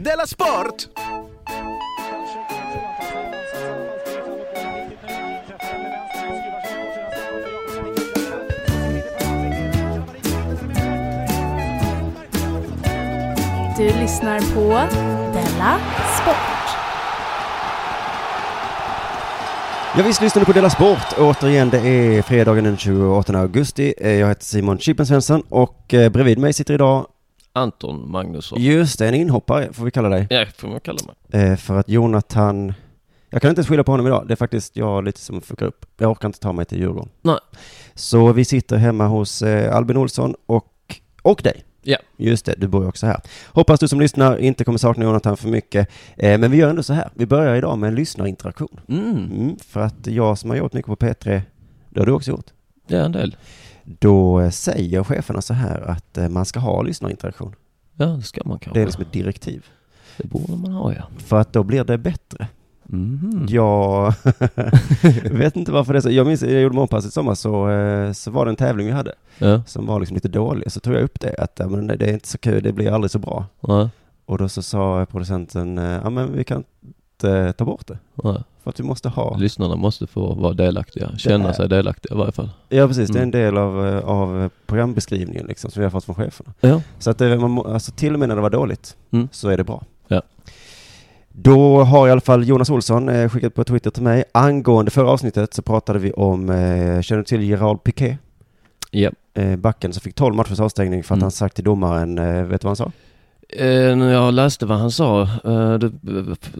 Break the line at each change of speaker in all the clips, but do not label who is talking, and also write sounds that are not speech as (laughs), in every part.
Della Sport!
Du lyssnar på Della Sport.
Ja visst lyssnar du på Della Sport. Återigen, det är fredagen den 28 augusti. Eh, Jag heter Simon Chippen Svensson och eh, bredvid mig sitter idag,
Anton Magnusson.
just det, en inhoppare får vi kalla dig.
Ja, får man kalla mig.
Eh, För att Jonathan, jag kan inte ens skylla på honom idag. Det är faktiskt jag lite som fuckar upp. Jag orkar inte ta mig till Djurgården.
Nej.
Så vi sitter hemma hos eh, Albin Olsson och, och dig.
Ja.
Just det, du bor ju också här. Hoppas du som lyssnar inte kommer sakna Jonathan för mycket. Eh, Men vi gör ändå så här. Vi börjar idag med en lyssnarinteraktion.
Mm,
Mm, för att jag som har gjort mycket på P3, det har du också gjort.
det är en del.
Då eh, säger cheferna så här att eh, man ska ha lyssnarinteraktion.
Ja, det ska man kanske.
Det är liksom ett direktiv.
Det borde man ha, ja.
För att då blir det bättre.
Mhm.
Jag (laughs) vet inte varfor det är så. Jag minns, jag gjorde morgonpasset i sommar så, eh, så var det en tävling vi hade
Ja,
som var liksom lite dålig. Så tog jag upp det att ja, men det det är inte så kul, det blir aldrig så bra.
ja,
Och då så sa producenten, eh, ja men vi kan inte ta bort det.
ja.
För att vi måste ha.
Lyssnarna måste få vara delaktiga, känna
är-
sig delaktiga i varje fall.
Ja precis, det är
Mm.
en del av, eh, av programbeskrivningen liksom som vi har fått från cheferna.
Ja.
Så att det, man, må- alltså till och med när det var dåligt
Mm.
så är det bra.
Ja.
Då har i alla fall Jonas Olsson eh, skickat på Twitter till mig. Angående förra avsnittet så pratade vi om, eh, känner du till Gerald Piqué?
Ja.
Eh, backen som fick 12 matchers avstängning för att
Mm.
han sagt till domaren, eh, vet du vad han sa?
Eh, när jag läste vad han sa, eh, du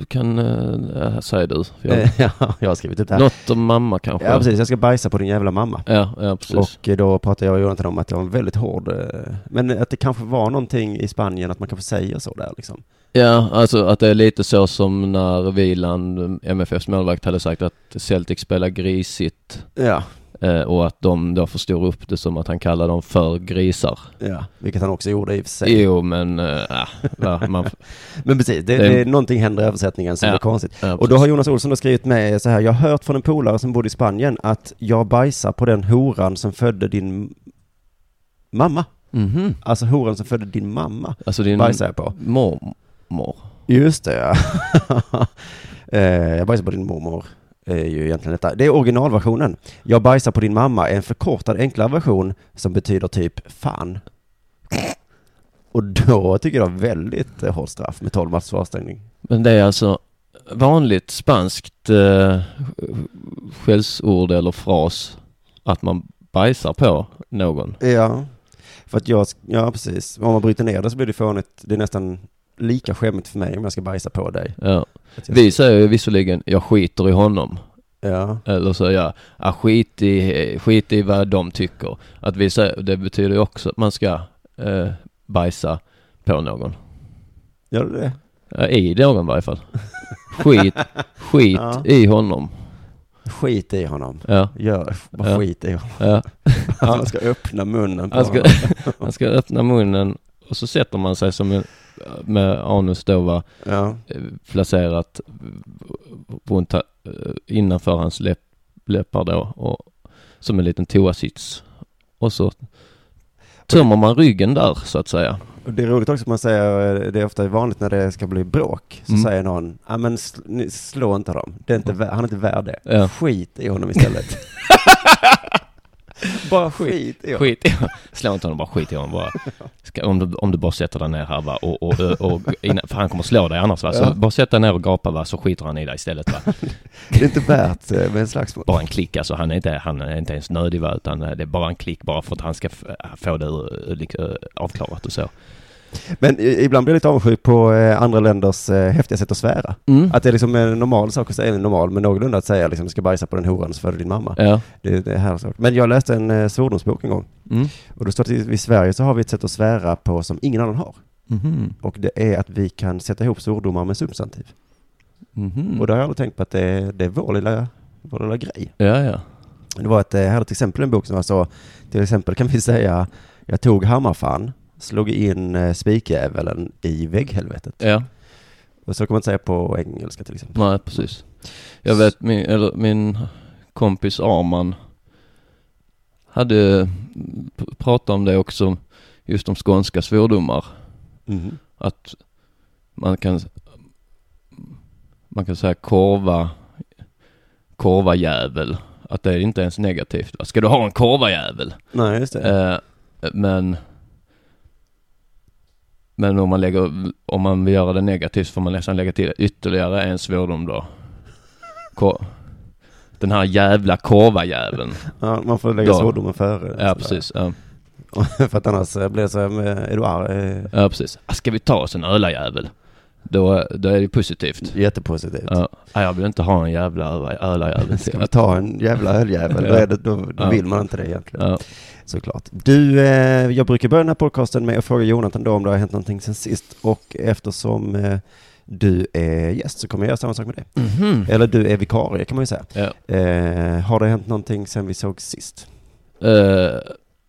kan, eh, säg du. För Jag,
Eh, (laughs) ja, jag har skrivit upp det här.
Något om mamma kanske?
Ja precis, jag ska bajsa på din jävla mamma.
Ja, ja precis.
Och eh, då pratade jag och Jonathan om att det var en väldigt hård, eh, men att det kanske var någonting i Spanien att man kanske säger så där liksom.
Ja, alltså att det är lite så som när Wieland, eh, MFFs målvakt, hade sagt att Celtic spelar grisigt
Ja,
eh, och att de då förstod upp det som att han kallade dem för grisar.
ja. Vilket han också gjorde i och för sig.
Jo, men eh, ah, va, man,
(laughs) Men precis, det,
Det-
det, någonting händer i översättningen som
Ja.
är konstigt.
ja,
Och då har Jonas Olsson då skrivit med så här, jag har hört från en polare som bodde i Spanien att jag bajsar på den horan som födde din mamma.
Mhm.
Alltså horan som födde din mamma
Alltså din
bajsar jag på.
mormor.
Just det, ja. (laughs) Eh, jag bajsar på din mormor. Är ju egentligen detta. Det är originalversionen. Jag bajsar på din mamma är en förkortad enklare version som betyder typ fan. Och då tycker jag väldigt eh, hårt straff med 12 matchers avstängning.
Men det är alltså vanligt spanskt eh, skällsord eller fras att man bajsar på någon.
Ja, för att jag, ja precis. Om man bryter ner det så blir det fånigt. Det är nästan lika skämmigt för mig om jag ska bajsa på dig.
Ja.
Att jag-
Vi säger ju visserligen, jag skiter i honom.
Ja,
Eller så ja, ah, skit, i, skit i vad de tycker. Att vi säger, det betyder ju också att man ska eh, bajsa på någon.
gör du det?
Eh, I någon i varje fall. Skit, skit
Ja.
i honom.
Skit i honom.
Ja,
Gör, bara
Ja.
skit i honom.
ja.
Att man ska öppna munnen på
Han ska, (laughs)
honom.
han ska öppna munnen och så sätter man sig som en, med anus då va,
Ja,
eh, placerat runt, eh, innanför hans läpp, läppar då och som en liten toasits. Och så tömmer man ryggen där så att säga.
och det är roligt också att man säger, eh, det är ofta vanligt när det ska bli bråk, så
Mm.
säger någon, ja men sl- ni- slå inte dem, det är inte vä- han är inte värd det.
Ja.
Skit i honom istället.
(laughs)
bara skit i honom.
Skit i honom. Slå inte honom bara, skit i honom bara. Ska, om, du, om du bara sätter dig ner här va, och, och, och, och innan, för han kommer slå dig annars va. Så
Ja.
bara sätt dig ner och gapa va, så skiter han i dig istället va.
Det är inte värt eh, med en slagsmål.
bara en klick alltså. Han är inte, han är inte ens nödig va, utan eh, det är bara en klick bara för att han ska f- få det ur- ur- liksom, eh, avklarat och så.
Men i- ibland blir jag lite avundsjuk på eh, andra länders eh, häftiga sätt att svära. Att det är liksom en normal sak att säga, eller normal, men någorlunda att säga liksom, ska bajsa på den horan som födde din mamma.
Ja.
Det, det är här sak. Men jag läste en eh, svordomsbok en gång,
Mm.
och då står det att i Sverige så har vi ett sätt att svära på som ingen annan har. Och det är att vi kan sätta ihop svordomar med substantiv.
Mhm.
Och då har jag aldrig tänkt på att det, det är vår lilla, vår lilla grej.
Ja, ja.
Det var ett, eh, jag hade till exempel en bok som var så, till exempel kan vi säga, jag tog hammarfan, slog in eh, spikjävelen i vägghelvetet.
Ja,
Och så kan man säga på engelska till exempel.
nej precis. Jag vet, min, eller min kompis Arman hade p- pratat om det också, just om skånska svordomar.
Mhm.
Att
man kan, man kan säga korva, korvajävel. Att det är inte ens negativt. Va? Ska du ha en korvajävel?
Nej, just det.
Eh, men men om man lägger, om man vill göra det negativt får man nästan lägga till ytterligare en svordom då. Ko- den här jävla korvajäveln.
Ja, man får lägga
ja.
svordomen före.
Ja precis. Ja,
(laughs) För att annars eh, blir det så här med, är du arg? Eh,
ja precis. Ah, Ska vi ta oss en ölajävel? Då, då är det positivt.
Jättepositivt.
Ja. Ah, jag vill inte ha en jävla öla- (laughs) ölajävel.
Ska vi ta en jävla öljävel? Då, är det, då, då
Ja.
vill man inte det egentligen.
Ja.
Såklart. Du, eh, jag brukar börja den här podcasten med att fråga Jonathan då om det har hänt någonting sen sist. Och eftersom eh, du är gäst så kommer jag göra samma sak med dig.
Mhm.
Eller du är vikarie kan man ju säga.
Ja.
Eh, har det hänt någonting sen vi såg sist?
Eh,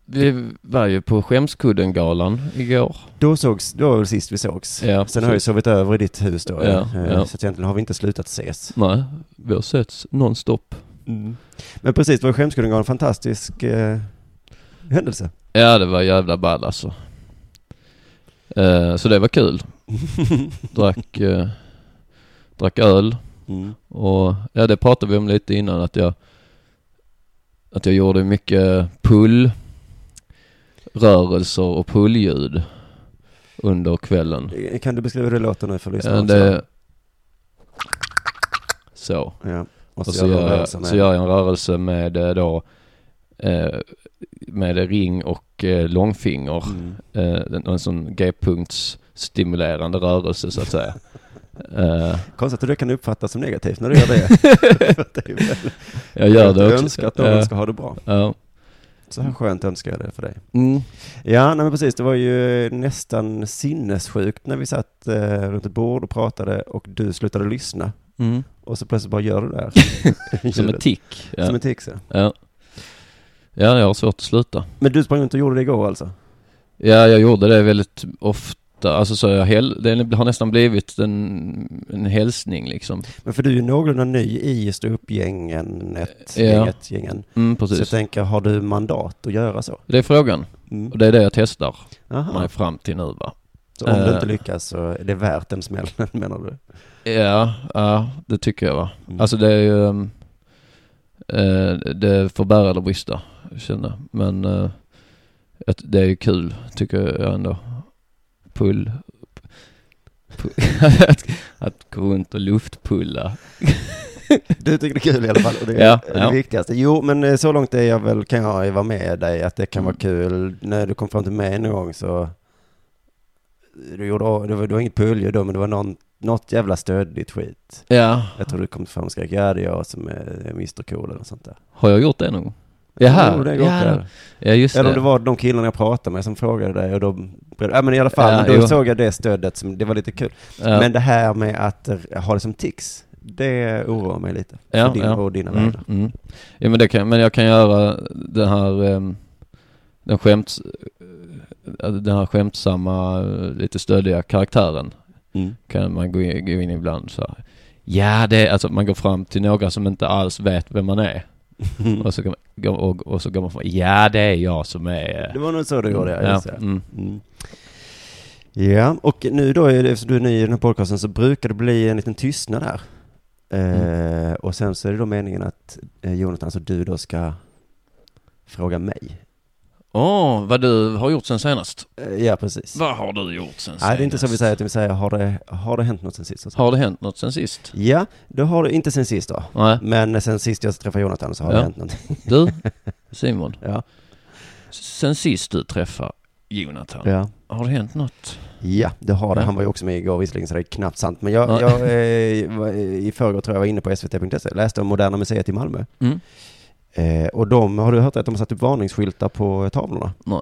vi var ju på Skämskudden-galan igår.
Då sågs, då var det sist vi sågs.
Ja,
sen har jag ju sovit över i ditt hus då.
Ja,
eh,
ja.
Så att egentligen har vi inte slutat ses.
Nej, vi har setts nonstop. Mm.
Men precis, det var Skämskudden en fantastisk eh, händelse.
Ja, det var jävla ball alltså. Eh, så det var kul. (laughs) Drack, eh, drack öl
Mm.
och ja, det pratade vi om lite innan att jag att jag gjorde mycket pull rörelser och pullljud under kvällen.
Kan du beskriva hur det låter nu för
Ja,
lyssnarna?
det, så.
Ja. Och
Och så, gör, alltså, jag,
rörelsen
så
med-
gör jag en rörelse med eh, då eh, med ring och eh, långfinger.
Mm.
eh, en, en sån g-punktsstimulerande rörelse så
(laughs)
att säga. eh,
Konstigt att det kan uppfattas som negativt när du gör
(laughs)
det. För att det är väl-
jag gör det också.
önskar att någon
Ja,
ska ha det bra.
ja.
Så här skönt önskar jag det för dig.
Mm,
Ja, nej men precis. Det var ju nästan sinnessjukt när vi satt eh, runt ett bord och pratade och du slutade lyssna.
mm.
Och så plötsligt bara gör du det här.
(laughs) Som en
Ljudet.
tick.
Som
Ja.
en tics, ja.
Ja. ja, jag har svårt att sluta.
Men du sprang inte och gjorde det igår alltså?
Ja, jag gjorde det väldigt ofta. Alltså så jag hel- det har nästan blivit en, en hälsning liksom.
Men för du är ju någorlunda ny i ståuppgänget,
Eh, Ja.
gänget, gängen.
Mm,
Så jag
precis.
tänker, har du mandat att göra så?
Det är frågan.
Mm.
Och det är det jag testar mig
Aha.
fram till nu va.
Så om du
Eh.
inte lyckas så är det värt den smällen, (laughs) menar du?
Ja, ja det tycker jag va.
Mm.
Alltså det är ju... ehm, eh, det får bära eller brista, känner jag. Men eh, att det är ju kul, tycker jag ändå. Pull... pull (laughs) att, att gå runt och luftpulla.
Du tycker det är kul i alla fall och det är
Ja,
det
ja.
viktigaste. Jo, men eh, så långt är jag väl, kan jag ju vara med dig att det kan vara
Mm.
kul. När du kom fram till mig någon gång så, du gjorde, det var, det var inget pulje då, men det var någon, något jävla stöddigt skit.
Ja,
Jag tror du kom fram och skrek, ja det är jag som är Mr Cool eller något sånt där.
har jag gjort det någon gång?
Jo,
Jaha,
det är gott
ja,
där.
ja just
Eller om det
det.
var de killarna jag pratade med som frågade dig och de, ja men i alla fall,
Ja,
men då
jo.
såg jag det stödet som, det var lite kul.
Ja,
Men det här med att eh, ha det som tics, det oroar mig lite.
Ja,
för din
ja.
och dina
Mm,
vänner.
mm. Ja, men, det kan, men jag kan göra den här, ehm, den, skämts, eh, den här skämtsamma, eh, lite stöddiga karaktären.
Mm.
Kan man gå in, gå in ibland så här. Ja, det är, alltså man går fram till några som inte alls vet vem man är. Och så går man, går- och, och så går man fram. Ja, det är jag som är...
(laughs)
eh,
Det var nog så du gjorde, ja. Just det.
mm.
Mm. Ja, och nu då, är det- eftersom du är ny i den här podcasten, så brukar det bli en liten tystnad här. Eh, och sen så är det då meningen att eh, Jonathan, alltså du då ska fråga mig.
Åh, vad du har gjort sen senast.
Eh, ja, precis.
Vad har du gjort sen senast?
Nej, det är inte så vi säger, utan vi säger, har det, har det hänt något sen sist? Och så.
Har det hänt något sen sist?
Ja, det har det inte sen sist då.
Nej.
Men sen sist jag träffade Jonathan så har
Ja.
det hänt någonting. (laughs)
Du, Simon.
Ja.
Sen sist du träffade Jonathan,
Ja.
har det hänt något?
Ja, det har det.
Ja.
Han var ju också med igår visserligen, så det är knappt sant. Men jag,
Ja.
jag eh, var- i förrgår tror jag var inne på svt.se, E, läste om Moderna Museet i Malmö.
Mm.
Eh, och de, har du hört att de har satt upp varningsskyltar på eh, tavlorna?
Nej.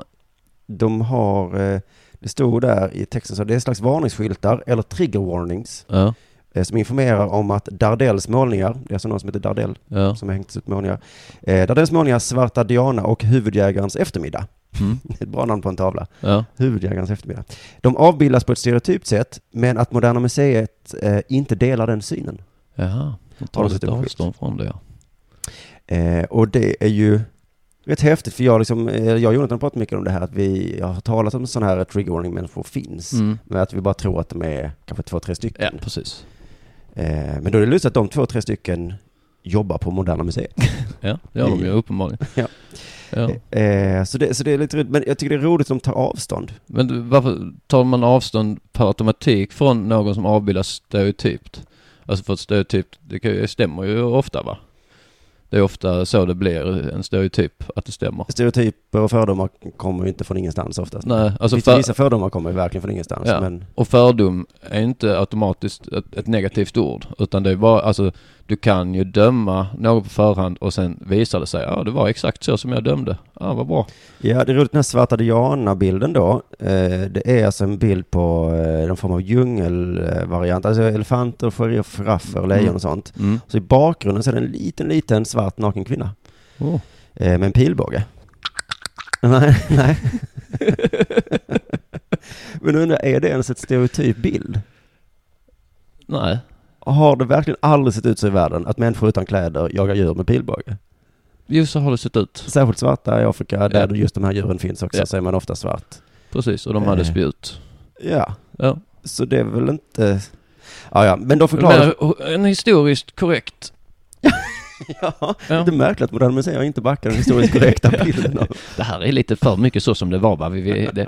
De har, eh, det stod där i texten så det är en slags varningsskyltar, eller trigger warnings,
Ja,
eh, som informerar om att Dardells målningar, det är alltså någon som heter Dardell
ja.
som har hängt ut målningar, eh, Dardells målningar, Svarta Diana och Huvudjägarens eftermiddag. (laughs)
Mm.
Ett bra namn på en tavla.
ja.
Huvudjägarens eftermiddag. De avbildas på ett stereotypt sätt, men att Moderna Museet eh, inte delar den synen.
Jaha, de
Har
tar
de
lite
sett en skylt?
avstånd från det. ja.
Eh, och det är ju rätt häftigt, för jag, liksom, eh, jag och Jonathan har pratat mycket om det här, att vi har talat om sådana här trigger warning människor finns,
Mm.
men att vi bara tror att de är kanske två, tre
Ja,
stycken.
precis.
Eh, men då är det lustigt att de två, tre stycken jobbar på Moderna Museet.
Ja, det har de ju uppenbarligen.
Ja.
Ja.
Eh, så, det, så det är lite roligt, men jag tycker det är roligt att de tar avstånd.
Men du, varför tar man avstånd per automatik från någon som avbildar stereotypt? Alltså för att stereotypt, det kan, ju- det stämmer ju ofta va? Det är ofta så det blir en stereotyp, att det stämmer.
Stereotyper och fördomar kommer ju inte från ingenstans oftast.
Nej, alltså
Vissa-
för,
Vissa fördomar kommer ju verkligen från ingenstans,
Ja.
men
och fördom är inte automatiskt ett, ett negativt ord. Utan det är bara, alltså du kan ju döma någon på förhand och sen visar det sig, ja det var exakt så som jag dömde. Ja, vad bra.
Ja, det är roligt, den här svarta diana-bilden då. Eh, det är alltså en bild på eh, någon form av djungelvariant, alltså elefanter, giraffer, giraffer, lejon
Mm.
och sånt.
Mm.
Så i bakgrunden så är det en liten, liten svart naken kvinna
Oh.
eh, med en pilbåge. (laughs) Nej, nej. (laughs) Men undrar, är det ens ett stereotyp bild?
Nej,
Har det verkligen aldrig sett ut så i världen att människor utan kläder jagar djur med pilbåge?
just så har det sett ut.
Särskilt svarta i Afrika, där
Ja.
just de här djuren finns också,
Ja.
så är man ofta svart.
Precis, och de hade
Eh.
spjut.
Ja.
Ja.
Så det är väl inte... Ja, ja. men de förklarar...
Men, en historiskt korrekt
(laughs) ja,
Ja.
lite märkligt att Moderna Museum inte backar den historiskt
(laughs)
korrekta bilden av...
Det här är lite för mycket så som det var va? Vi, vi, det,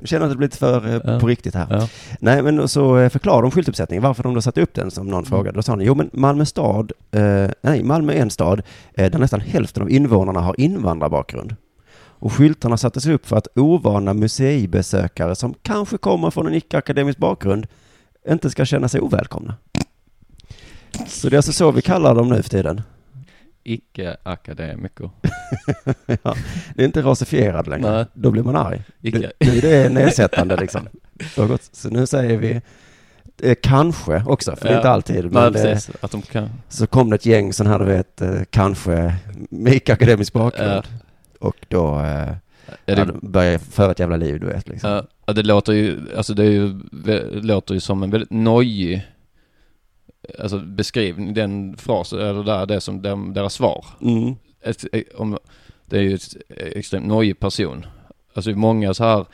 Jag känner att det blir lite för eh,
Ja.
på riktigt här.
ja.
Nej, men så eh, förklarar de skyltuppsättningen, varför de då satte upp den, som någon
Mm.
frågade. Då sa han, jo men Malmö stad, eh, nej, Malmö är en stad eh, där nästan hälften av invånarna har invandrarbakgrund. Och skyltarna sattes upp för att ovana museibesökare som kanske kommer från en icke-akademisk bakgrund inte ska känna sig ovälkomna. Så det är alltså så vi kallar dem nu för tiden.
Icke-akademiker.
(laughs) Ja, det är inte rasifierad längre.
Nej.
Då blir man arg.
Icke.
Nu nu är det nedsättande
(laughs)
liksom. Det har gått- Så nu säger vi eh, kanske också, för det är
Ja.
inte alltid.
Nej,
Men eh,
precis. Att de kan.
så kom det ett gäng sån här, du vet, eh, kanske med icke-akademisk bakgrund.
Ja.
Och då eh,
Ja,
ja,
Eh, det,
de börjar föra ett jävla liv, du vet. Liksom.
ja, ja, det låter ju, alltså det är ju, det låter ju som en väldigt nojig Alltså beskrivning, den frasen, eller där, det som de, deras svar.
Mm.
Ett, om, det är ju ett extremt nojig person. Alltså det är många så här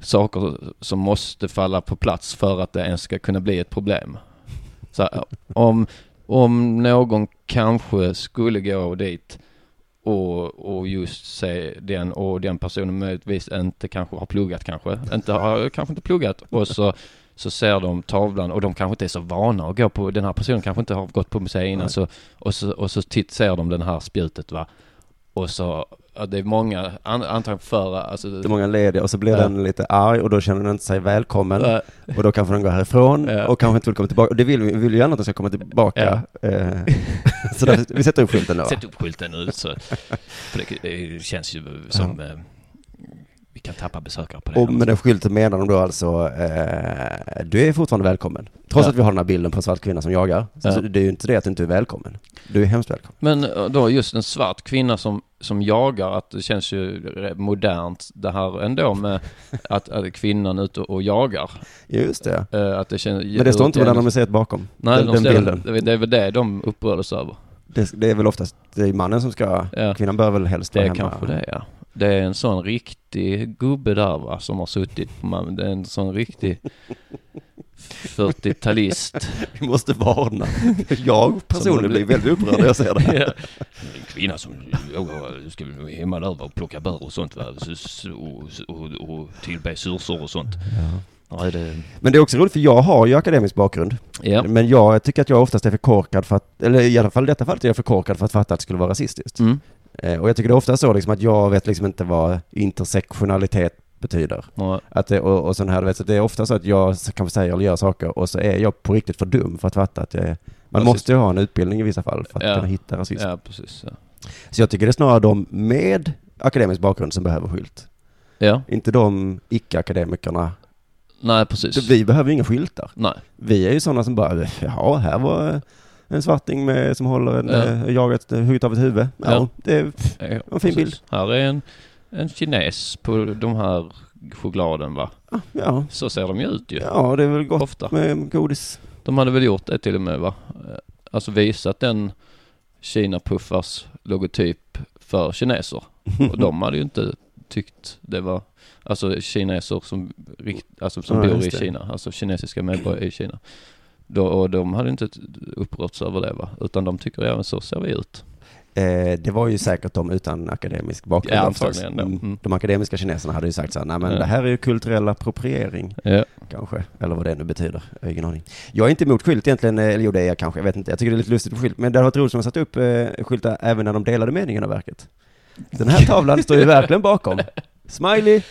saker som måste falla på plats för att det ens ska kunna bli ett problem. Så här, om, om någon kanske skulle gå dit och, och just se den och den personen möjligtvis inte kanske har pluggat kanske, inte har, kanske inte pluggat och så, så ser de tavlan och de kanske inte är så vana att gå på, den här personen kanske inte har gått på museet innan
Nej.
så, och så, och så titt, ser de den här spjutet va och så, ja, det är många, an, antagligen för, alltså,
Det är många lediga och så blir
Ja.
den lite arg och då känner den inte sig välkommen.
äh,
Och då kanske den går härifrån
Ja.
och kanske inte vill komma tillbaka. Och det vill vi, vi vill ju gärna att den ska komma tillbaka. Eh, (laughs) så därför, vi sätter upp skylten då.
Sätt upp skylten nu så. För det, det känns ju som eh, vi kan tappa besökare på det.
Och med den skylten menar de då alltså, eh, du är fortfarande välkommen. Trots
Ja.
att vi har den här bilden på en svart kvinna som jagar. Så
Ja.
det är ju inte det att du inte är välkommen. Du är hemskt välkommen.
Men eh, då just en svart kvinna som, som jagar, att det känns ju re- modernt det här ändå med att, att kvinnan är ute och jagar.
Just det.
Eh, Att det känns,
Men det står inte Moderna Museet bakom.
Nej,
den,
de
den
ställer-
bilden.
Det, det är väl det de upprördes över.
Det, det är väl oftast det är mannen som ska,
Ja.
kvinnan bör väl helst
Det
vara
är
hemma.
kanske det ja. Det är en sån riktig gubbe där va, som har suttit på man, det är en sån riktig 40-talist.
Vi måste
(laughs)
varna. Jag personligen blir väldigt upprörd när jag ser det här.
Ja. En kvinna som jagar, ska vi hemma där och plocka bär och sånt va? Så- så- Och, och, och tillbe sursor och sånt. Ja, det...
Men det är också roligt för jag har ju akademisk bakgrund.
Ja.
Men jag tycker att jag oftast är för korkad för att, eller i alla fall i detta fallet är jag för korkad för att fatta att det skulle vara rasistiskt.
Mm.
Eh, Och jag tycker det är ofta så liksom att jag vet liksom inte vad intersektionalitet betyder.
Ja.
Att det, och, och sån här, du vet, så det är ofta så att jag så kanske säger eller gör saker och så är jag på riktigt för dum för att fatta att jag är, man
Rasist.
måste ju ha en utbildning i vissa fall för att
Ja.
kunna hitta rasism.
ja, precis. Ja.
Så jag tycker det är snarare de med akademisk bakgrund som behöver skylt.
ja.
Inte de icke-akademikerna.
Nej, precis.
Så Vi behöver ju inga skyltar.
Nej.
Vi är ju sådana som bara, ja, här var en svarting med, som håller en,
Ja.
ja. jagat, hugget av ett huvud. Ja,
Ja.
det är
Ja,
fin
precis.
bild.
Här är en, en kines på de här chokladen va.
ja,
Så ser de ju ut ju.
ja, det är väl gott
Ofta.
med godis.
De hade väl gjort det Eh, till och med va? Alltså visat den Kina Puffars logotyp för kineser.
Mhm.
Och de hade ju inte tyckt det var, alltså kineser som, rikt- alltså, som
Ja,
bor i
just det.
Kina, alltså kinesiska medborgare i Kina. Då, och de hade inte upprörts över det va, utan de tycker även så ser vi ut.
(laughs) Eh, det var ju säkert de utan akademisk bakgrund.
Ja,
också.
antagligen då.
Mm.
Mm.
De akademiska kineserna hade ju sagt så här, nej men
Ja.
det här är ju kulturell appropriering.
Ja.
Kanske, eller vad det nu betyder. Jag har ingen aning. Jag är inte emot skylt egentligen, eh, eller jo det är jag kanske, jag vet inte. Jag tycker det är lite lustigt med skylt, men det hade varit roligt om man satt upp eh, skyltar även när de delade meningen av verket. Den här tavlan står ju verkligen bakom. Smiley!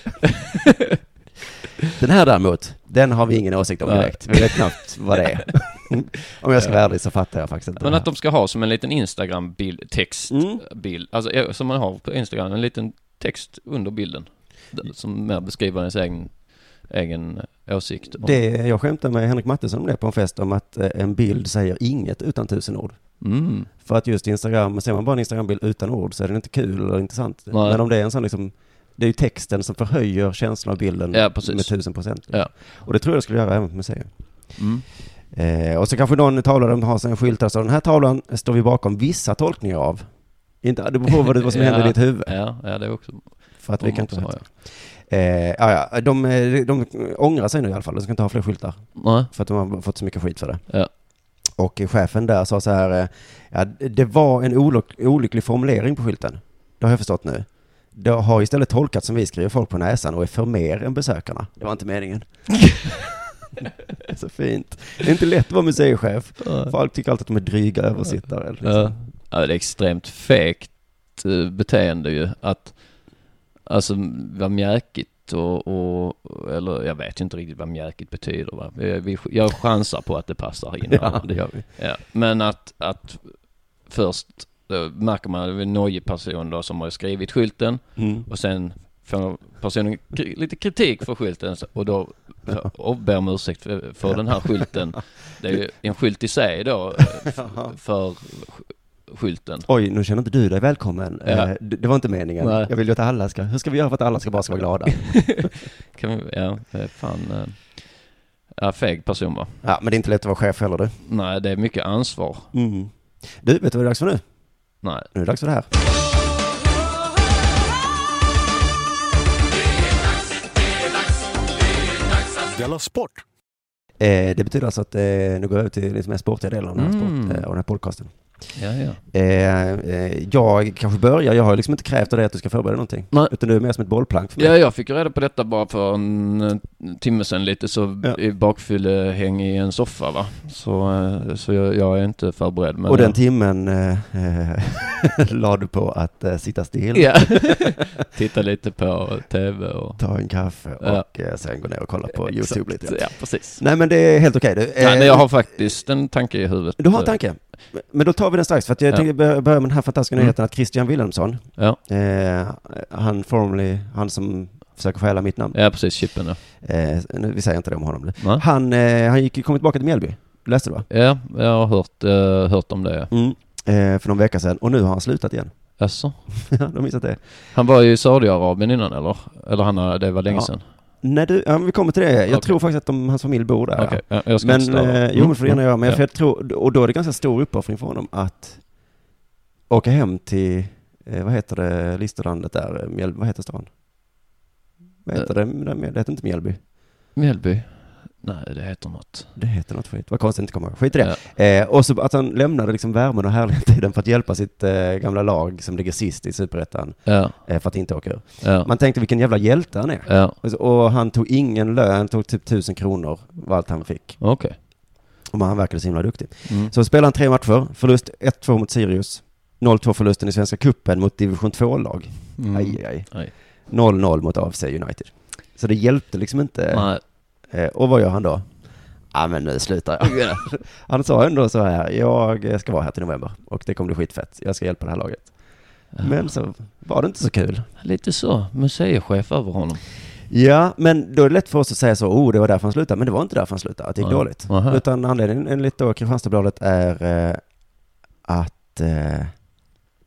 Den här däremot, den har vi ingen åsikt om
Nej.
direkt. Vi vet knappt vad det
(laughs)
är. om jag ska vara ärlig så fattar jag faktiskt inte.
Men
det
att de ska ha som en liten Instagram-bild,
här.
textbild,
Mm.
alltså eh, som man har på Instagram, en liten text under bilden. d- Som mer beskriver ens egen, egen eh, åsikt. om-
Det, jag skämtade med Henrik Mattesson om det på en fest, om att eh, en bild säger inget utan tusen ord.
Mm.
För att just Instagram, ser man bara en Instagram-bild utan ord så är den inte kul eller intressant.
Nej.
Men om det är en sån liksom, det är ju texten som förhöjer känslan av bilden
Ja, precis.
med tusen procent.
Ja.
Och det tror jag det skulle göra även på museer.
Mm.
Eh, och så kanske någon tavla de har sig en skylt där så den här tavlan står vi bakom vissa tolkningar av. Inte, det beror på vad, det- vad som händer i
Ja.
ditt huvud.
Ja, ja, det är också...
För att vi kan inte
också
ha
har
det. Eh, ja, ja, de, eh, de ångrar sig nu i alla fall, de ska inte ha fler skyltar.
Nej.
För att de har fått så mycket skit för det.
Ja.
Och chefen där sa så här, eh, ja, det var en olyck- olycklig formulering på skylten. Det har jag förstått nu. Det har istället tolkats som vi skriver folk på näsan och är för mer än besökarna. Det var inte meningen. så fint. Det är inte lätt att vara museichef. Folk tycker alltid att de är dryga översittare. Liksom.
Ja. ja, det är extremt fegt eh, beteende ju att alltså vara mjäkigt och, och eller jag vet ju inte riktigt vad mjäkigt betyder va. Vi, vi, jag chansar på att det passar in.
Ja, det gör vi.
Ja, men att, att först eh, märker man att det är en nojig person då som har skrivit skylten
Mm.
och sen får personen kri- lite kritik för skylten så- och då
(laughs)
och ber om ursäkt för, för den här skylten. Det är ju en skylt i sig då eh, f- för sk- skylten.
Oj, nu känner inte du dig välkommen.
Ja.
Eh, Det det var inte meningen.
Nej.
Jag vill ju att alla ska, hur ska vi göra för att alla ska bara ska vara glada?
Kan vi, ja, det är fan. eh, Ja, feg person va?
Ja, men det är inte lätt att vara chef heller du.
Nej, det är mycket ansvar.
Mm. Du, vet du vad det är dags för nu?
Nej.
Nu är det dags för det här.
Della Sport!
Eh, det betyder alltså att, eh, nu går jag över till liksom den sportiga delen av den här,
Mm.
sport, eh, av den här podcasten.
Ja, ja.
Eh, eh, jag kanske börjar, jag har liksom inte krävt av dig att du ska förbereda någonting.
Nej.
Utan du är mer som ett bollplank för mig.
Ja, jag fick ju reda på detta bara för en eh, timme sedan lite så
Ja.
i bakfyllehäng i en soffa va. Så, eh, så jag, jag är inte förberedd. Men
Och den
jag-
timmen eh, (laughs) eh, la du på att eh, sitta still, (laughs)
Ja. Titta lite på tv och...
ta en kaffe och
Ja.
eh, sen gå ner och kolla på
Exakt.
YouTube lite.
Ja, precis.
Nej men det är helt okej. Du,
Nej,
Eh,
men jag har faktiskt en tanke i huvudet.
du har en tanke? Men då tar vi den strax, för att jag
Ja.
tänkte börja börja med den här fantastiska
Mm.
nyheten att Christian Wilhelmsson,
Ja,
eh, han formerly, han som försöker stjäla mitt namn,
ja precis. Chippen ja.
Eh, nu, vi säger inte det om honom nu.
Va?
Han, eh, han gick, kom tillbaka till Mjällby. Läste du va?
Ja, jag har hört, eh, hört om det.
Eh, för någon vecka sedan. Och nu har han slutat igen. (laughs)
Alltså,
De har missat det.
Han var ju i Saudiarabien innan eller? Eller han, har- det var länge
Ja.
sedan?
Nej du, ja, men vi kommer till det. Jag
Okej.
tror faktiskt att de, hans familj bor där.
Okej, ja, jag ska inte
Men,
störa. Mm,
eh, jo men får du gärna göra. Men
Ja.
för jag tror, och då är det ganska stor uppoffring för honom att åka hem till, eh, vad heter det, Listerlandet där, eh, Mjäl, vad heter stan? Vad heter
Eh.
det? det? Det heter inte Mjällby.
Mjällby? Nej, det heter något.
Det heter något skit. Vad konstigt att inte komma ihåg. Skit i det.
Ja.
Eh, och så att han lämnade liksom värmen och (laughs) härligheten för att hjälpa sitt eh, gamla lag som ligger sist i superettan
Ja,
eh, för att inte åka ur.
ja,
Man tänkte vilken jävla hjälte han är.
ja.
Och så- Och han tog ingen lön, han tog typ tusen kronor var allt han fick.
Okej.
Och han verkade så himla duktig.
Mm.
Så spelade han tre matcher, förlust 1-2 mot Sirius, 0-2 förlusten i Svenska Kuppen mot division 2-lag.
Mm.
Aj, aj,
Aj.
0-0 mot AFC United. Så det hjälpte liksom inte.
Nej,
Eh, och vad gör han då? Ja men nu slutar jag.
(laughs) ja.
Han sa ändå så här, jag ska vara här till november och det kommer bli skitfett. Jag ska hjälpa det här laget.
Ah.
Men så var det inte så kul.
Lite så, museichef över honom.
Ja, men då är det lätt för oss att säga så, oh det var därför han slutade, men det var inte därför han slutade, att det gick
Nej.
dåligt.
Aha.
Utan anledningen enligt då Kristianstadsbladet är eh, att eh,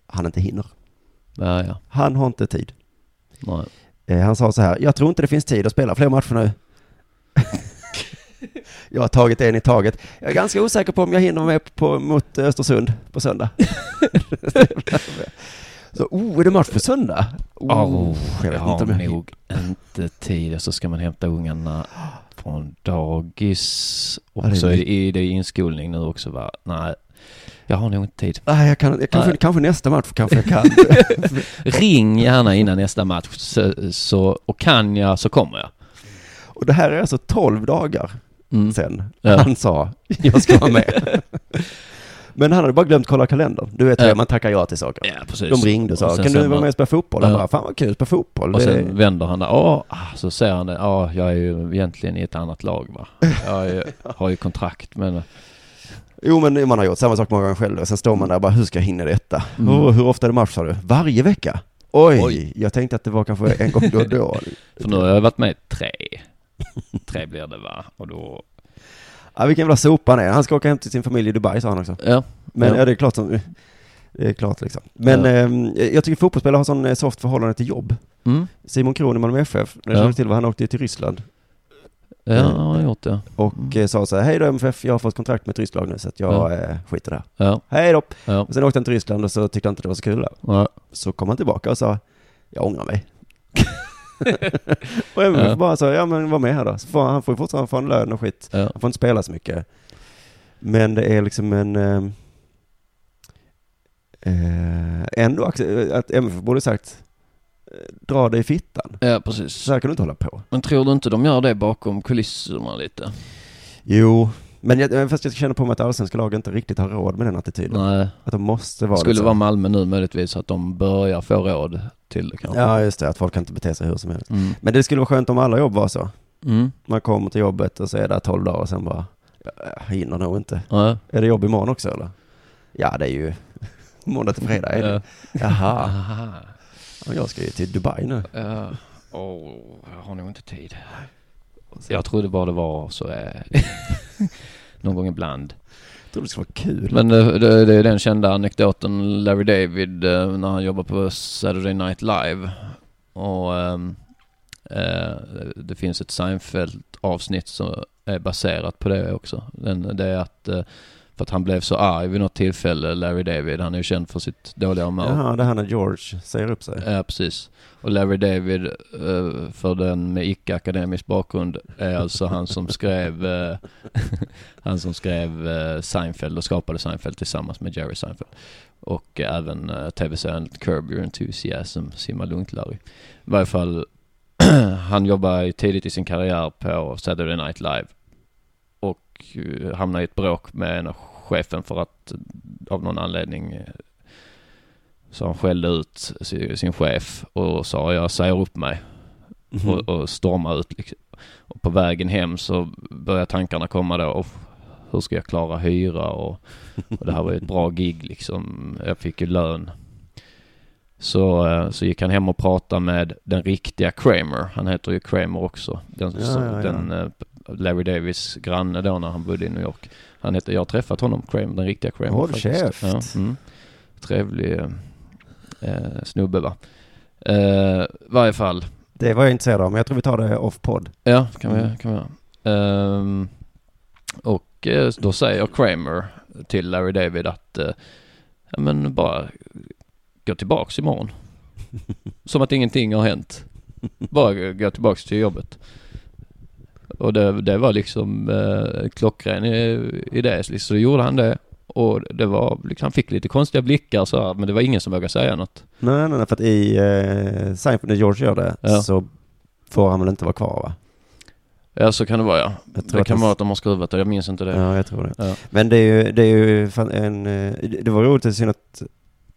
han inte hinner.
Ja, ja.
Han har inte tid.
Nej.
Eh, han sa så här, jag tror inte det finns tid att spela fler matcher nu. (laughs) jag har tagit en i taget. Jag är ganska eh, osäker på om jag hinner med på, mot Östersund på söndag. (laughs) Så, oh, är det match på söndag? Oh,
Åh,
jag
oh, jag,
vet inte
har
om jag...
nog inte tid. Och Så ska man hämta ungarna från dagis. Och
Ja, det är
så är
mycket.
det, är det inskolning nu också va? Nej, jag har nog inte tid.
Nej, Ah, jag kan, jag kanske,
Nej.
kanske nästa match kanske jag
(laughs)
kan.
Ring gärna innan nästa match. Så, så, och kan jag så kommer jag.
och det här är alltså 12 dagar
Mm.
sen.
Ja.
Han sa, jag ska vara
(laughs)
med. Men han hade bara glömt kolla kalendern. Du vet hur
Ja.
man tackar ja till saker.
Ja, precis.
De ringde och sa,
Och sen
kan
säger
du vara
man-
med och spela fotboll? Han
Ja.
bara, fan vad kul, spela fotboll.
Och
Det-
sen vänder han där. Åh, ah, så ser han det. Ja, jag är ju egentligen i ett annat lag va. Jag
(laughs)
är, ju- har ju kontrakt men...
Jo men man har gjort samma sak många gånger själv och sen står man där och bara, hur ska jag hinna detta?
Mm.
Åh, hur ofta är det match sa du? Varje vecka? Oj,
Oj.
jag tänkte att det var kanske en gång då och då.
(laughs) För nu har jag varit med tre. Tre blir det va. Och då...
ja, vilken jävla sopa han är. Han ska åka hem till sin familj i Dubai sa han också.
Ja.
Men ja,
Ja.
det är klart som, det är klart liksom. Men
Ja.
ehm, jag tycker fotbollsspelare har sån eh, soft förhållande till jobb.
Mm.
Simon Kron i Malmö FF, när jag
Ja.
kände till vad han åkte till Ryssland
Ja, jag har gjort det.
och
Mm.
eh, sa så här, hej då MFF, jag har fått kontrakt med ett ryskt lag nu så att jag
Ja.
eh, skiter där.
Ja,
Hej då!
ja.
Och sen åkte han till Ryssland och så tyckte han inte det var så kul där.
ja.
Så kom han tillbaka och sa, jag ångrar
(laughs)
mig. och MFF
Ja.
bara sa, ja men var med här då. Så får, han- han får ju fortfarande få en lön och skit.
Ja.
Han får inte spela så mycket. Men det är liksom en... ehm, Eh, ändå acce- att MFF borde sagt, eh, dra dig i fittan.
ja, precis.
Så här kan du inte hålla på.
Men tror du inte de gör det bakom kulisserna lite?
Jo, men jag, eh, fast jag känner på mig att allsvenska lag inte riktigt har råd med den attityden.
Nej,
Att de måste vara
skulle
lite så.
vara Malmö nu möjligtvis att de börjar få råd till det kanske.
Ja, just det, att folk kan inte bete sig hur som helst.
Mm.
Men det skulle vara skönt om alla jobb var så.
Mm.
Man kommer till jobbet och så är det 12 dagar och sen bara, "Äh, jag hinner nog inte.
Ja.
Är det jobb imorgon också eller? Ja, det är ju (laughs) måndag till fredag. Är det?
Ja. (laughs)
Jaha,
Aha.
och jag ska ju till Dubai nu.
Ja. Eh, Åh, jag har nog inte tid. Jag trodde bara det var så eh, (laughs) någon gång ibland.
Jag trodde det skulle vara kul.
Men eh, det, det är den kända anekdoten Larry David eh, när han jobbar på Saturday Night Live. Och ehm, eh, det finns ett Seinfeld-avsnitt som är baserat på det också. (clears throat) Den, det är att eh, för att han blev så arg vid något tillfälle, Larry David. Han är ju känd för sitt dåliga humör.
Jaha, det här när George säger upp sig.
Ja, precis. Och Larry David, eh, för den med icke-akademisk bakgrund, är alltså han som skrev, eh, (laughs) han som skrev eh, Seinfeld och skapade Seinfeld tillsammans med Jerry Seinfeld. Och eh, även eh, tv-serien Curb Your Enthusiasm, Simma Lugnt Larry. I varje fall, han jobbar ju tidigt i sin karriär på Saturday Night Live. Och eh, hamnar i ett bråk med en av chefen för att eh, av någon anledning eh, så han skällde ut si- sin chef och sa jag säger upp mig
Mhm.
och, och stormade ut. liksom. Och på vägen hem så började tankarna komma då. Och hur ska jag klara hyra och, och det här var ju ett bra gig liksom. Jag fick ju lön. Så, eh, så gick han hem och pratade med den riktiga Kramer. Han heter ju Kramer också. Den,
Ja,
som,
ja, ja.
den eh, Larry Davis granne då när han bodde i New York. Han heter, jag har träffat honom, Kramer, den riktiga Kramer.
Håll
faktiskt.
käft.
Ja, mm. Trevlig eh, eh, snubbe va. Eh, varje fall.
Det var jag intresserad av, men jag tror vi tar det off-podd.
Ja, kan
Mm.
vi, kan vi göra. Ehm, och eh, då säger Kramer till Larry David att eh, ja, men bara gå tillbaks (laughs) imorgon. Som att ingenting har hänt. Bara gå- gå tillbaks till jobbet. Och det, det var liksom eh, klockren eh, idé. Så då gjorde han det. Och det var, liksom, han fick lite konstiga blickar så här, men det var ingen som vågade säga något.
Nej, nej, nej, för att i eh, Seinfeld, när George gör det,
Ja.
så får han väl inte vara kvar va?
Ja, så kan det vara ja.
Jag tror
Det
att
kan
han-
vara att de har skruvat det, jag minns inte det.
Ja, jag tror det.
Ja.
Men det är ju, det är ju fan en, eh, det var roligt, det är synd att,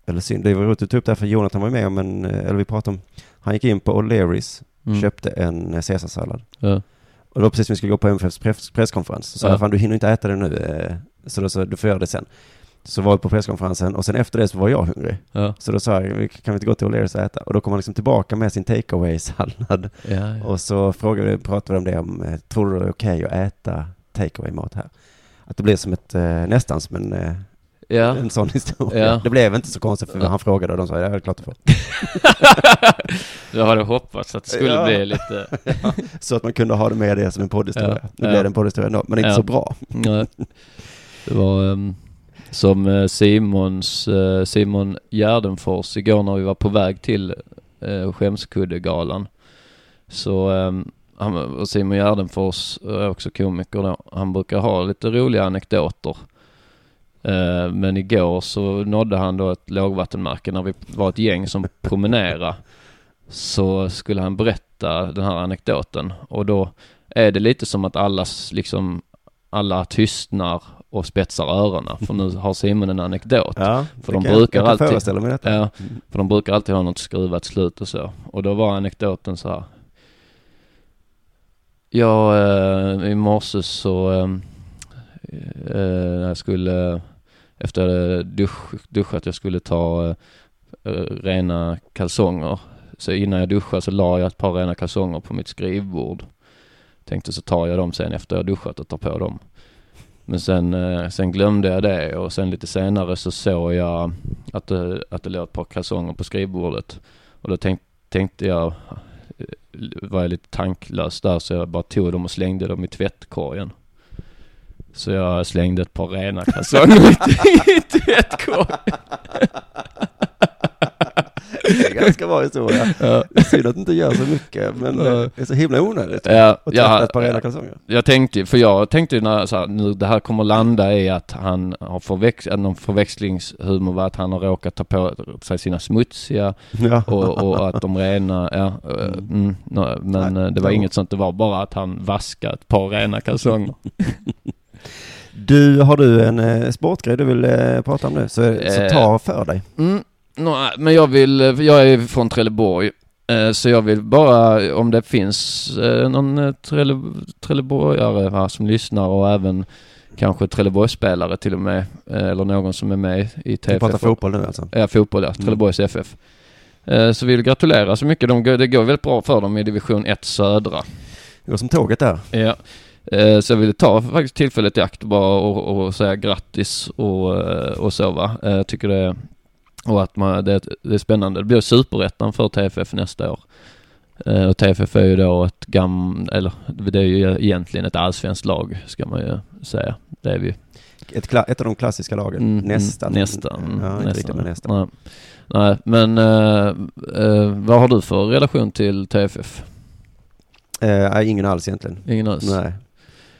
eller synd, det var roligt att ta upp det här för Jonathan var ju med om en, eh, eller vi pratade om, han gick in på O'Learys,
Mm.
köpte en eh, caesarsallad.
Ja.
Och det var precis som vi skulle gå på MFFs press, presskonferens. Så sa
Ja.
jag, fan du hinner inte äta det nu, eh, så då sa du får göra det sen. Så var vi på presskonferensen och sen efter det så var jag hungrig.
Ja.
Så då sa jag, "Vi- kan vi inte gå till O'Learys och äta? Och då kom han liksom tillbaka med sin takeaway-sallad.
Ja, ja.
Och så frågade vi, pratade vi om det, om, eh, tror du det är okej att äta takeaway-mat här? Att det blir som ett, eh, nästan som en, eh,
ja.
en sån historia.
Ja.
Det blev inte så konstigt för
Ja.
han frågade och de sa, ja det är klart du får.
Jag hade hoppats att det skulle
Ja.
bli lite...
Så att man kunde ha det med det som en poddhistoria.
Ja.
Nu
Ja.
blev det en poddhistoria ändå, men inte
Ja.
så bra.
Nej. Det var... ehm, Som eh, Simons, eh, Simon Gärdenfors igår när vi var på väg till eh, Skämskuddegalan. Så eh, han, och Simon Gärdenfors eh, är också komiker då. Han brukar ha lite roliga anekdoter. Eh, Men igår så nådde han då ett lågvattenmärke när vi var ett gäng som promenerade. Så skulle han berätta den här anekdoten och då är det lite som att alla s- liksom alla tystnar och spetsar öronen för nu har Simon en anekdot.
Ja,
För
det
de
kan jag-
brukar
jag kan
alltid-
föreställa mig detta.
Ja, för de brukar alltid ha något skruvat slut och så. Och då var anekdoten så här. Jag, eh, i morse så, eh, eh, när jag skulle, efter jag hade dusch, duschat, jag skulle ta eh, eh, rena kalsonger. Så innan jag duschade så la jag ett par rena kalsonger på mitt skrivbord. Tänkte så tar jag dem sen efter jag duschat och tar på dem. Men sen, eh, sen glömde jag det och sen lite senare så såg jag att det, att det låg ett par kalsonger på skrivbordet. Och då tänk, tänkte jag, var jag lite tanklös där så jag bara tog dem och slängde dem i tvättkorgen. Så jag slängde ett par rena kalsonger (laughs) i- i tvättkorgen.
Det är en ganska bra historia.
Ja.
Det är synd att det inte gör så mycket, men
Ja.
eh, det är så himla onödigt.
Ja,
Och tvätta ett par
ja,
rena kalsonger.
jag tänkte ju- för jag tänkte ju när så här, nu det här kommer landa i att han har förväx, att någon förväxlingshumor var att han har råkat ta på sig sina smutsiga
Ja.
och, och att de rena, ja, eh,
Mm.
mm, nå, men
Nej,
eh, det var
jo.
inget sånt, det var bara att han vaskade ett par rena kalsonger.
Du, har du en eh, sportgrej du vill eh, prata om nu? Så, så
Eh.
ta för dig.
(laughs) Mm, nå, men jag vill, eh, jag är från Trelleborg, eh, så jag vill bara, om det finns eh, någon eh, Trelle, Trelleborgare här som lyssnar och även kanske Trelleborgsspelare till och med, eh, eller någon som är med i
Vi pratar
TFF.
fotboll nu alltså.
Ja, fotboll ja. Trelleborgs FF. Eh, Så vill gratulera så mycket. De, går- det går väldigt bra för dem i division 1 södra.
Det går som tåget där.
Ja. Eh, Så jag ville ta faktiskt tillfället i akt bara och, och säga grattis och, eh, och så va. Eh, Jag tycker det är, och att man, det, det är spännande. Det blir superettan för TFF nästa år. Eh, Och TFF är ju då ett gam eller det är ju egentligen ett allsvenskt lag ska man ju säga. Det är vi ju.
Ett, kla- ett av de klassiska lagen.
Mm,
nästan.
mm, Nästan.
Ja, inte riktigt, men nästan.
Nej. Nej, men eh, eh, vad har du för relation till TFF?
Eh, nej, ingen alls egentligen.
Ingen alls?
Nej.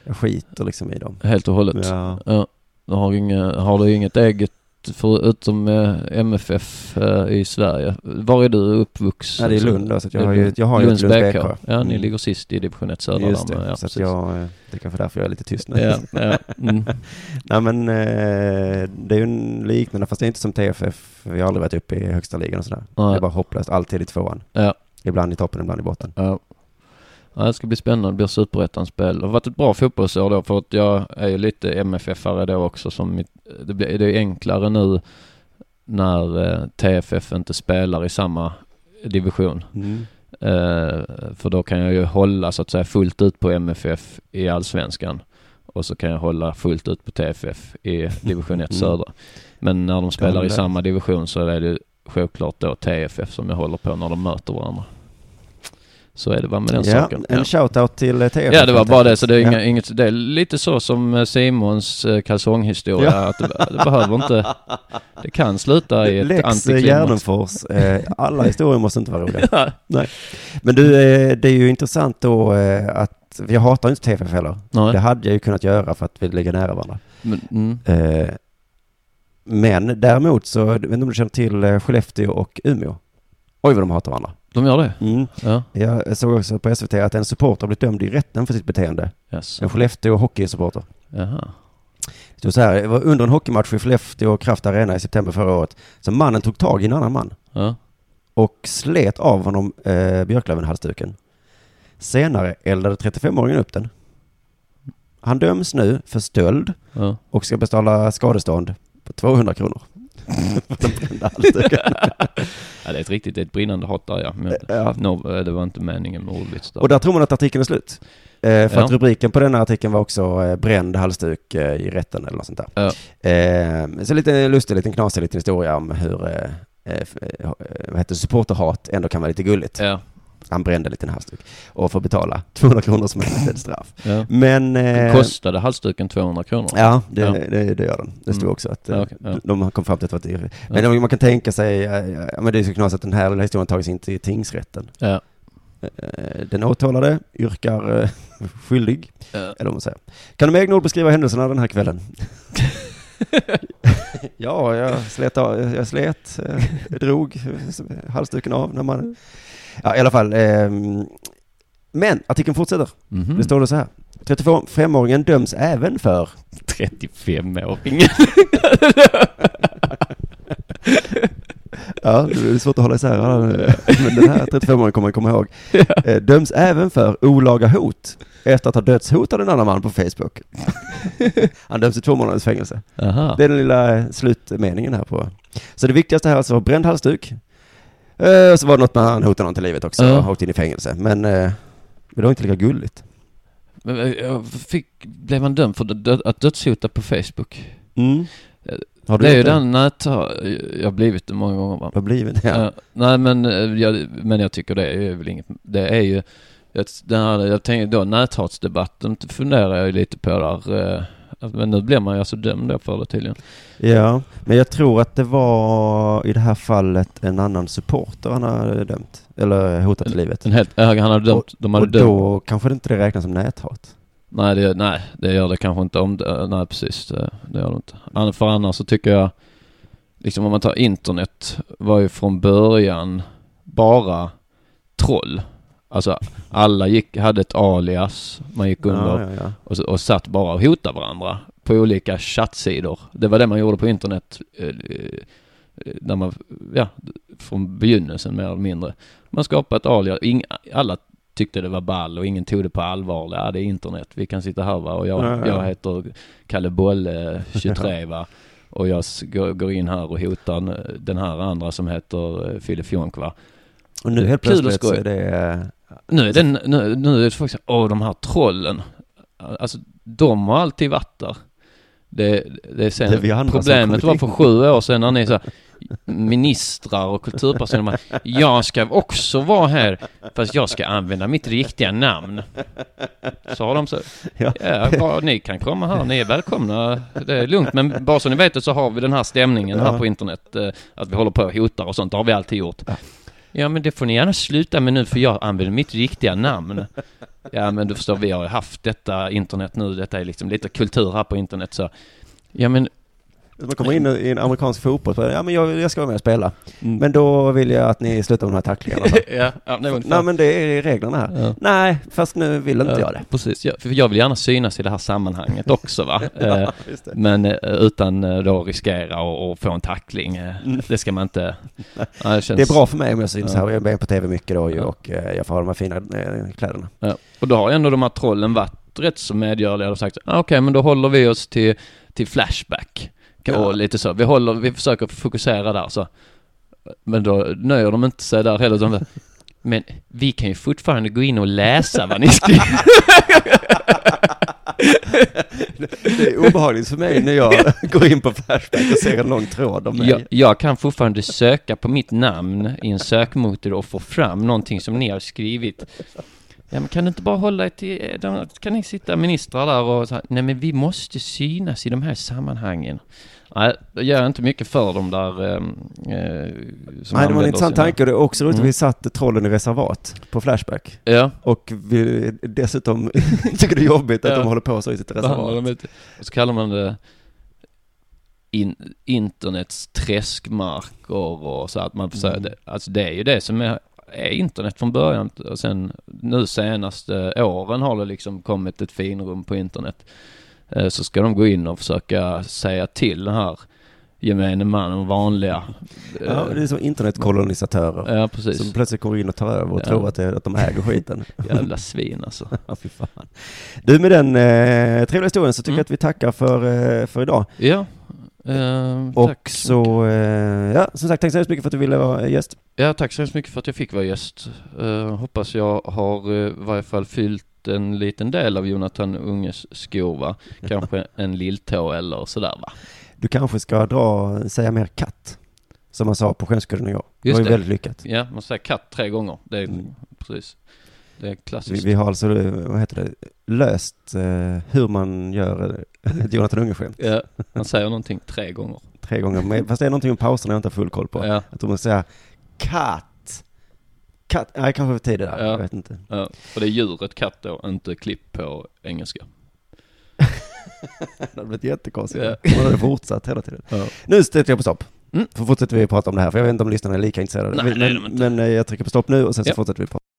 Jag skiter liksom i dem.
Helt och hållet?
Ja.
Ja, du har, inga, har du inget eget förutom eh, MFF eh, i Sverige? Var är du uppvuxen?
Nej, det är Lund då, så att jag har ju, jag har ju ett Lunds BK.
Ja, ni
Mm.
ligger sist i division 1 södra
Just
där, men,
det,
ja,
så att
precis.
jag, eh, det är kanske därför jag är lite tyst nu.
Ja, ja, mm.
(laughs) Nej men eh, det är ju en liknande, fast det är inte som TFF. Vi har aldrig varit uppe i högsta ligan och sådär.
Nej.
Det är bara hopplöst, alltid i tvåan.
Ja.
Ibland i toppen, ibland i botten.
Ja. Ja, det ska bli spännande. Det blir superettans spel. Det har varit ett bra fotbollsår då för att jag är ju lite MFF-are då också som mitt, det, blir, det är enklare nu när eh, TFF inte spelar i samma division. Eh, för då kan jag ju hålla så att säga fullt ut på MFF i allsvenskan. Och så kan jag hålla fullt ut på TFF i division
Mm.
1 södra. Men när de spelar i
det.
samma division så är det ju självklart då TFF som jag håller på när de möter varandra. Så är det bara med den
ja,
saken.
en
Ja.
shoutout till eh, TFF.
Ja det var
helt
bara det,
enkelt.
så det är, inga,
Ja.
inget, det är lite så som eh, Simons eh, kalsonghistoria,
Ja.
att det, det behöver inte, det kan sluta i ett
Lex eh,
antiklimax.
Gärdenfors. Eh,
(laughs)
alla historier måste inte vara roliga.
Ja.
Men du, eh, det är ju intressant då eh, att, jag hatar ju inte TFF heller. Det
Nej.
hade jag ju kunnat göra för att vi ligger nära varandra.
Men, mm.
Eh, Men däremot så, jag vet inte om du känner till eh, Skellefteå och Umeå? Oj vad de hatar varandra.
De gör det?
Mm.
Ja.
Jag såg också på SVT att en supporter blivit dömd i rätten för sitt beteende.
Yes.
En Skellefteå hockeysupporter.
Jaha.
Det stod så här, det var under en hockeymatch i Skellefteå och Kraft Arena i september förra året. Så mannen tog tag i en annan man
Ja.
och slet av honom eh, Björklöven-halsduken. Senare eldade 35-åringen upp den. Han döms nu för stöld (laughs)
Ja.
och ska betala skadestånd på 200 kronor. För den brända halsduken.
ja, det är ett riktigt, det är ett brinnande hat där ja. Men,
Ja.
no, eh, det var inte meningen med ordvits där.
Och där tror man att artikeln är slut. Eh, för
Ja.
att rubriken på den här artikeln var också eh, bränd halsduk eh, i rätten eller något sånt där. Eh, så lite lustig, liten knasig eh, liten historia om hur eh, eh, f- eh, vad heter det, supporterhat ändå kan vara lite gulligt.
Ja.
Han brände en liten halsduk och får betala (laughs) 200 kronor som ett litet straff.
Ja.
Men...
Den
eh,
kostade halsduken 200 kronor?
Ja, det,
Ja.
Det, det gör den. Det stod
Mm.
också att
Ja,
eh,
okej, ja.
de kom fram till att det var ett irr- Men man kan tänka sig, eh, ja, men det är så knasigt att den här lilla historien tagits in till tingsrätten.
Ja.
Eh, Den åtalade yrkar eh, (laughs) skyldig,
Ja.
eller vad man säger. Kan du med egna ord beskriva händelserna den här (laughs) kvällen? ja, jag slet, av, jag slet eh, drog eh, halsduken av när man... Ja, i alla fall. eh, Men artikeln fortsätter.
Mhm.
Det står det så här. 35-åringen döms även för
(laughs) 35-åringen.
Ja, det är svårt att hålla isär alla. (laughs) Men den här 35-åringen kommer jag komma ihåg. Eh, Döms även för olaga hot efter att ha dödshotat en annan man på
(laughs)
Facebook. Han döms till två månaders fängelse.
Aha.
Det är den lilla eh, slutmeningen här på. Så det viktigaste här alltså var bränd halsduk. Eh, Så var det något med han hotade någon till livet också
Ja.
och åkte in i fängelse. Men eh, det var inte lika gulligt.
Men, eh, jag fick, blev han dömd för dö- att dödshota på Facebook?
Eh, Har du
Mm. Det är ju
gjort
den nät jag har blivit det många gånger va?
Vad blivit det?
Ja. nej men, eh, jag, men jag tycker det är väl inget, det är ju, ett, den här, jag tänker då näthatsdebatten funderar jag ju lite på där. eh, att- Men nu blir man ju alltså dömd då för det tydligen.
Ja, men jag tror att det var i det här fallet en annan supporter han hade dömt. Eller hotat till livet.
En helt, ja, han hade dömt, de hade
Och
dömt.
då kanske det inte det räknas som näthat.
Nej det, nej, det gör det kanske inte om det, nej precis, det, det gör det inte. An- För annars så tycker jag, liksom om man tar internet, var ju från början bara troll. Alltså alla gick, hade ett alias, man gick under
ja, ja.
och, och satt bara och hotade varandra på olika chattsidor. Det var det man gjorde på internet eh, eh, när man, ja, från begynnelsen mer eller mindre. Man skapade ett alias. Ing, alla tyckte det var ball och ingen tog det på allvar. Ja, det är internet. Vi kan sitta här va och jag,
Ja, ja, ja.
jag heter
(laughs)
Kalle Bolle 23 va. Och jag s- går- går in här och hotar eh, den här andra som heter eh, Filip Jonk va.
Och nu helt
Kul och
plötsligt så
skoj.
är det... eh,
Nu är, den, nu, nu är det faktiskt, åh de här trollen. Alltså de har alltid varit där. Det, det är sen,
Det är vi andra som
problemet
kommit
var
in.
för sju år sedan när ni så här, ministrar och kulturpersoner bara, jag ska också vara här fast jag ska använda mitt riktiga namn. Så har de så,
Ja.
ja, bra, ni kan komma här, ni är välkomna, det är lugnt men bara så ni vet det så har vi den här stämningen här
Ja.
på internet, eh, att vi håller på och hotar och sånt, det har vi alltid gjort. Ja men det får ni gärna sluta med nu för jag använder mitt riktiga namn. Ja men du förstår, vi har ju haft detta internet nu, detta är liksom lite kultur här på internet så. Ja men,
Man kommer in i en amerikansk fotboll och ja men jag, jag ska vara med och spela. Men då vill jag att ni slutar med de här (laughs) tacklingarna.
ja, Mm. (laughs) ja det var ungefär.
Nej men det är reglerna här.
Ja.
Nej, fast nu vill inte jag det.
Precis, ja, för jag vill gärna synas i det här sammanhanget
(laughs)
också va. Eh,
Just det.
Men eh, utan eh, då riskera och, och få en tackling. eh, Det ska
(laughs)
man inte... Ja, känns-
Mm. Det är bra för mig om jag syns
Ja.
här och jag är med på tv mycket då ju
Ja.
och eh, jag får ha de här fina eh,
(laughs)
kläderna.
Ja. Och då har ju ändå de här trollen varit rätt så medgörliga och sagt ah, okej men då håller vi oss till, till Flashback. Och
Ja.
lite så. Vi, håller, vi försöker fokusera där så. Men då nöjer de inte sig där heller. utan bara, men vi kan ju fortfarande gå in och läsa vad ni skriver.
Det är obehagligt för mig när
(laughs)
jag går in på Flashback och ser en lång tråd om mig.
Jag, jag kan fortfarande söka på mitt namn i en sökmotor och få fram någonting som ni har skrivit. Ja, men kan du inte bara hålla ett, i- de- kan ni sitta ministrar där och så här, nej men vi måste synas i de här sammanhangen. Nej, det gör inte mycket för dem där. Eh, eh, som
Nej, det var
använder
en intressant
sina-
tanke och det är också roligt att
Mm.
vi satte trollen i reservat på Flashback.
Ja.
Och vi dessutom (laughs) tycker det är jobbigt att
Ja.
de håller på så i sitt
behandlar
reservat.
dem inte. Och så kallar man det in, internets träskmarker och så att man
Mm.
försöker, det, alltså det är ju det som är, är internet från början och sen nu senaste åren har det liksom kommit ett finrum på internet. Eh, Så ska de gå in och försöka säga till den här gemene man och vanliga. eh,
Ja, det är som internetkolonisatörer. Som
ja precis.
plötsligt kommer in och tar över och
Ja.
tror att, det, att de äger
(laughs)
skiten.
Jävla svin alltså.
Ja, fy fan. Du, med den eh, trevliga historien så tycker
Mm.
jag att vi tackar för, eh, för idag.
Ja. Eh,
Och
tack.
så, eh, ja, som sagt, tack så hemskt mycket för att du ville vara eh, gäst.
Ja, tack så hemskt mycket för att jag fick vara gäst. Eh, hoppas jag har eh, i varje fall fyllt en liten del av Jonathan Unges skor
(laughs)
va? Kanske en lilltå eller sådär va?
Du kanske ska dra, säga mer katt. Som man sa på Sjönskullen och jag. Det
Just
var ju
det.
väldigt lyckat.
Ja, man säger katt tre gånger. Det är
Mm.
precis. Det är
Vi,
klassiskt.
vi har alltså, eh, vad heter det, löst eh, hur man gör eh, (laughs) ett Jonathan Unge-skämt.
Ja, man säger någonting tre gånger.
Tre gånger. Men, fast det är någonting om pauserna jag inte har full koll på.
Ja.
Att de måste säga katt. Katt. Nej, kanske för tidigt där.
Ja.
Jag vet
(laughs)
inte.
Ja, och det är djuret katt då, inte klipp på engelska.
Det hade blivit jättekonstigt.
Ja.
Man hade fortsatt hela tiden.
Ja.
Nu stöter jag på stopp.
Mm.
Då fortsätter vi prata om det här, för jag vet inte om lyssnarna är lika intresserade.
Nej,
men,
det är de inte.
men eh, jag trycker på stopp nu och sen så
Ja.
fortsätter vi prata.